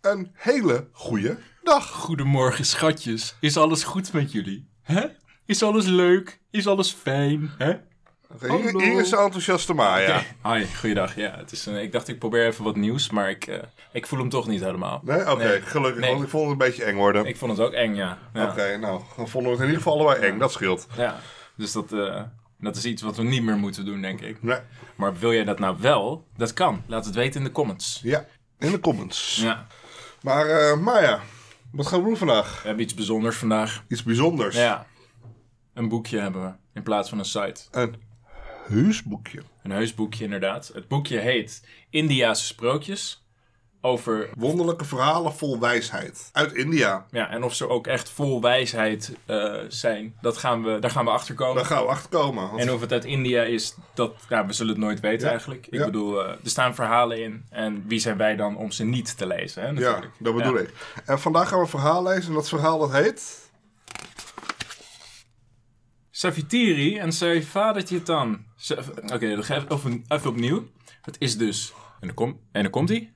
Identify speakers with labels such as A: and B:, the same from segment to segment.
A: een hele goede dag.
B: Goedemorgen, schatjes. Is alles goed met jullie? Hè? Is alles leuk? Is alles fijn? Hè?
A: Oké, Hier,
B: Hallo.
A: hier is de enthousiaste Maya.
B: Oké. Hoi, goeiedag. Ja, het is een, ik dacht ik probeer even wat nieuws, maar ik, eh, ik voel hem toch niet helemaal.
A: Nee? Oké,
B: Nee.
A: gelukkig,
B: Nee.
A: want ik vond het een beetje eng worden.
B: Ik vond het ook eng, ja. ja.
A: Oké, nou, dan vonden we het in ieder geval allebei eng, dat scheelt.
B: ja. Dus dat, eh, dat is iets wat we niet meer moeten doen, denk ik.
A: Nee,
B: Maar wil jij dat nou wel? Dat kan. Laat het weten in de comments.
A: ja, in de comments.
B: Ja.
A: Maar eh, Maya, wat gaan we doen vandaag?
B: We hebben iets bijzonders vandaag.
A: Iets bijzonders.
B: Ja. Een boekje hebben we in plaats van een site.
A: Een huisboekje.
B: Een heus boekje, inderdaad. Het boekje heet Indiase Sprookjes. Over,
A: Wonderlijke verhalen vol wijsheid. Uit India.
B: ja, en of ze ook echt vol wijsheid eh, zijn, dat gaan we, daar gaan we achter
A: Daar
B: komen.
A: gaan we achter komen. want-
B: En of het uit India is, dat, nou, we zullen het nooit weten
A: Ja,
B: eigenlijk. Ik
A: ja.
B: bedoel, eh, er staan verhalen in. En wie zijn wij dan om ze niet te lezen? Hè,
A: ja,
B: natuurlijk.
A: dat bedoel
B: Ja.
A: ik. En vandaag gaan we een verhaal lezen. En dat verhaal dat heet...
B: Savitiri en Saifadatjetan. Sa- eh, Oké, dan ga ik even, even opnieuw. Het is dus... En dan, kom, en dan komt hij.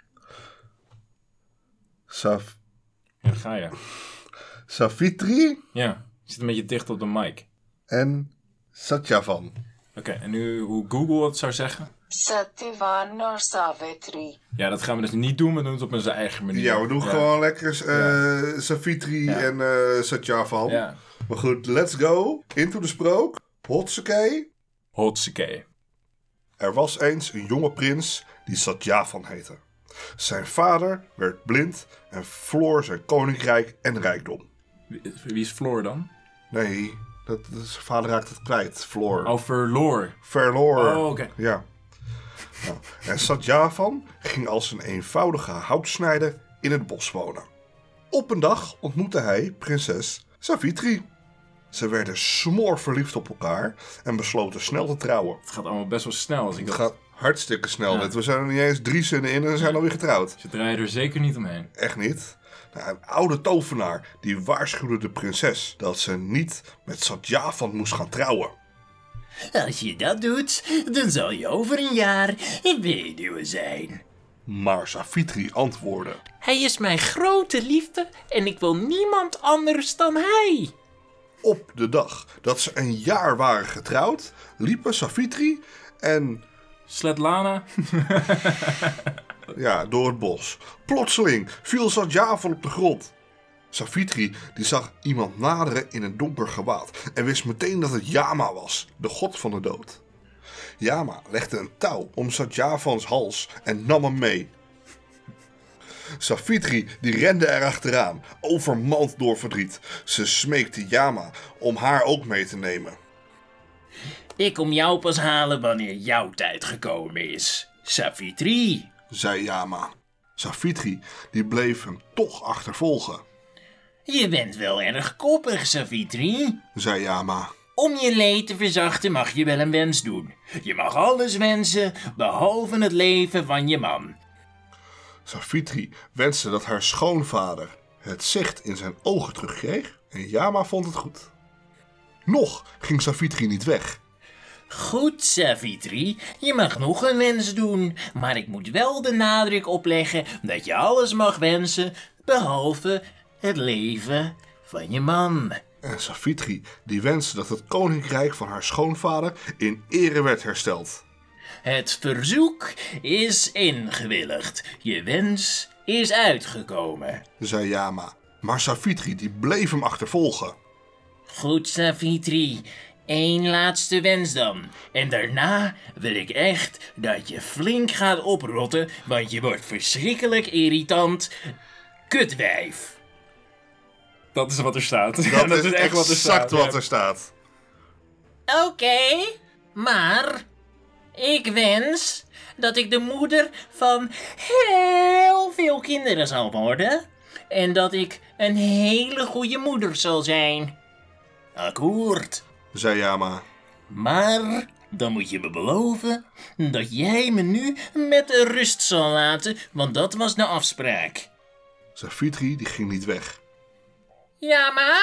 A: Saf
B: Ja, dan ga je.
A: Savitri
B: Ja, je zit een beetje dicht op de mic.
A: en Satyavan.
B: Oké, en nu hoe Google het zou zeggen.
C: Satyavan or Savitri.
B: Ja, dat gaan we dus niet doen. We doen het op onze eigen manier.
A: Ja, we doen
B: ja.
A: gewoon lekker eh Savitri
B: Ja.
A: en eh Satyavan.
B: Ja.
A: Maar goed, let's go. Into de sprook. Hotsekei.
B: Hotsuke.
A: Er was eens een jonge prins die Satyavan heette. Zijn vader werd blind en verloor zijn koninkrijk en rijkdom.
B: Wie wie is Floor dan?
A: Nee, dat, dat- zijn vader raakt het kwijt. Floor.
B: Oh, verloor.
A: Verloor.
B: Oh, oké.
A: Ja. Nou, en Satyavan ging als een eenvoudige houtsnijder in het bos wonen. Op een dag ontmoette hij prinses Savitri. Ze werden smoor verliefd op elkaar en besloten snel te trouwen.
B: Het gaat allemaal best wel snel. Als ik
A: Het
B: dat...
A: gaat hartstikke snel. dit. We zijn er niet eens drie zinnen in en we zijn alweer getrouwd.
B: Ze draaien er zeker niet omheen.
A: Echt niet? Nou, een oude tovenaar die waarschuwde de prinses dat ze niet met Satyavan moest gaan trouwen.
D: Als je dat doet, dan zal je over een jaar een weduwe zijn.
A: Maar Savitri antwoordde.
D: Hij is mijn grote liefde en ik wil niemand anders dan hij.
A: Op de dag dat ze een jaar waren getrouwd, liepen Savitri en
B: Sletlana.
A: ja, door het bos. Plotseling viel Satyavan op de grond. Savitri die zag iemand naderen in een donker gewaad en wist meteen dat het Yama was, de god van de dood. Yama legde een touw om Satyavans hals en nam hem mee. Savitri die rende erachteraan, overmand door verdriet. Ze smeekte Yama om haar ook mee te nemen.
D: Ik kom jou pas halen wanneer jouw tijd gekomen is. Savitri,
A: zei Yama. Savitri die bleef hem toch achtervolgen,
D: je bent wel erg koppig, Savitri.
A: zei Yama.
D: Om je leed te verzachten mag je wel een wens doen. Je mag alles wensen, behalve het leven van je man.
A: Savitri wenste dat haar schoonvader het zicht in zijn ogen terugkreeg en Yama vond het goed. Nog ging Savitri niet weg.
D: Goed, Savitri, je mag nog een wens doen, maar ik moet wel de nadruk opleggen dat je alles mag wensen, behalve het leven van je man.
A: En Savitri die wenste dat het koninkrijk van haar schoonvader in ere werd hersteld.
D: Het verzoek is ingewilligd, je wens is uitgekomen.
A: zei Yama. Maar Savitri die bleef hem achtervolgen.
D: Goed, Savitri, één laatste wens dan. En daarna wil ik echt dat je flink gaat oprotten, want je wordt verschrikkelijk irritant. Kutwijf.
B: Dat is wat er staat. Dat,
A: exact wat er staat.
D: Oké, maar ik wens dat ik de moeder van heel veel kinderen zal worden. En dat ik een hele goede moeder zal zijn. Akkoord.
A: zei Yama.
D: Maar dan moet je me beloven dat jij me nu met rust zal laten, want dat was de afspraak.
A: Savitri die ging niet weg.
D: Ja, ma?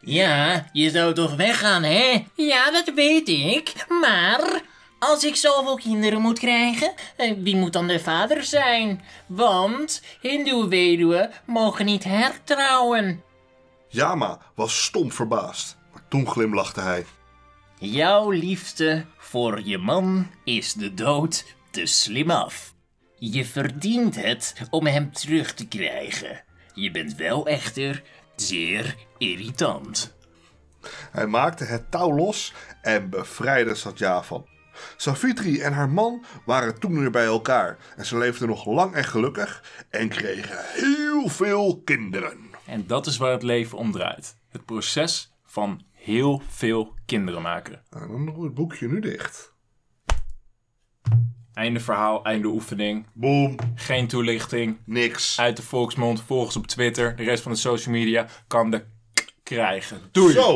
D: Ja, je zou toch weggaan, hè? Ja, dat weet ik, maar... Als ik zoveel kinderen moet krijgen, eh, wie moet dan de vader zijn? Want hindoe-weduwen mogen niet hertrouwen.
A: Jama was stom verbaasd, maar toen glimlachte hij.
D: Jouw liefde voor je man is de dood te slim af. Je verdient het om hem terug te krijgen. Je bent wel echter zeer irritant.
A: Hij maakte het touw los en bevrijdde Satya van. Savitri en haar man waren toen weer bij elkaar en ze leefden nog lang en gelukkig en kregen heel veel kinderen.
B: En dat is waar het leven om draait. Het proces van heel veel kinderen maken.
A: Nou, dan doen we het boekje nu dicht.
B: Einde verhaal, einde oefening.
A: Boom,
B: Geen toelichting.
A: niks.
B: Uit de volksmond, volg ons op Twitter. De rest van de social media kan de k- krijgen. Doei!
A: Zo.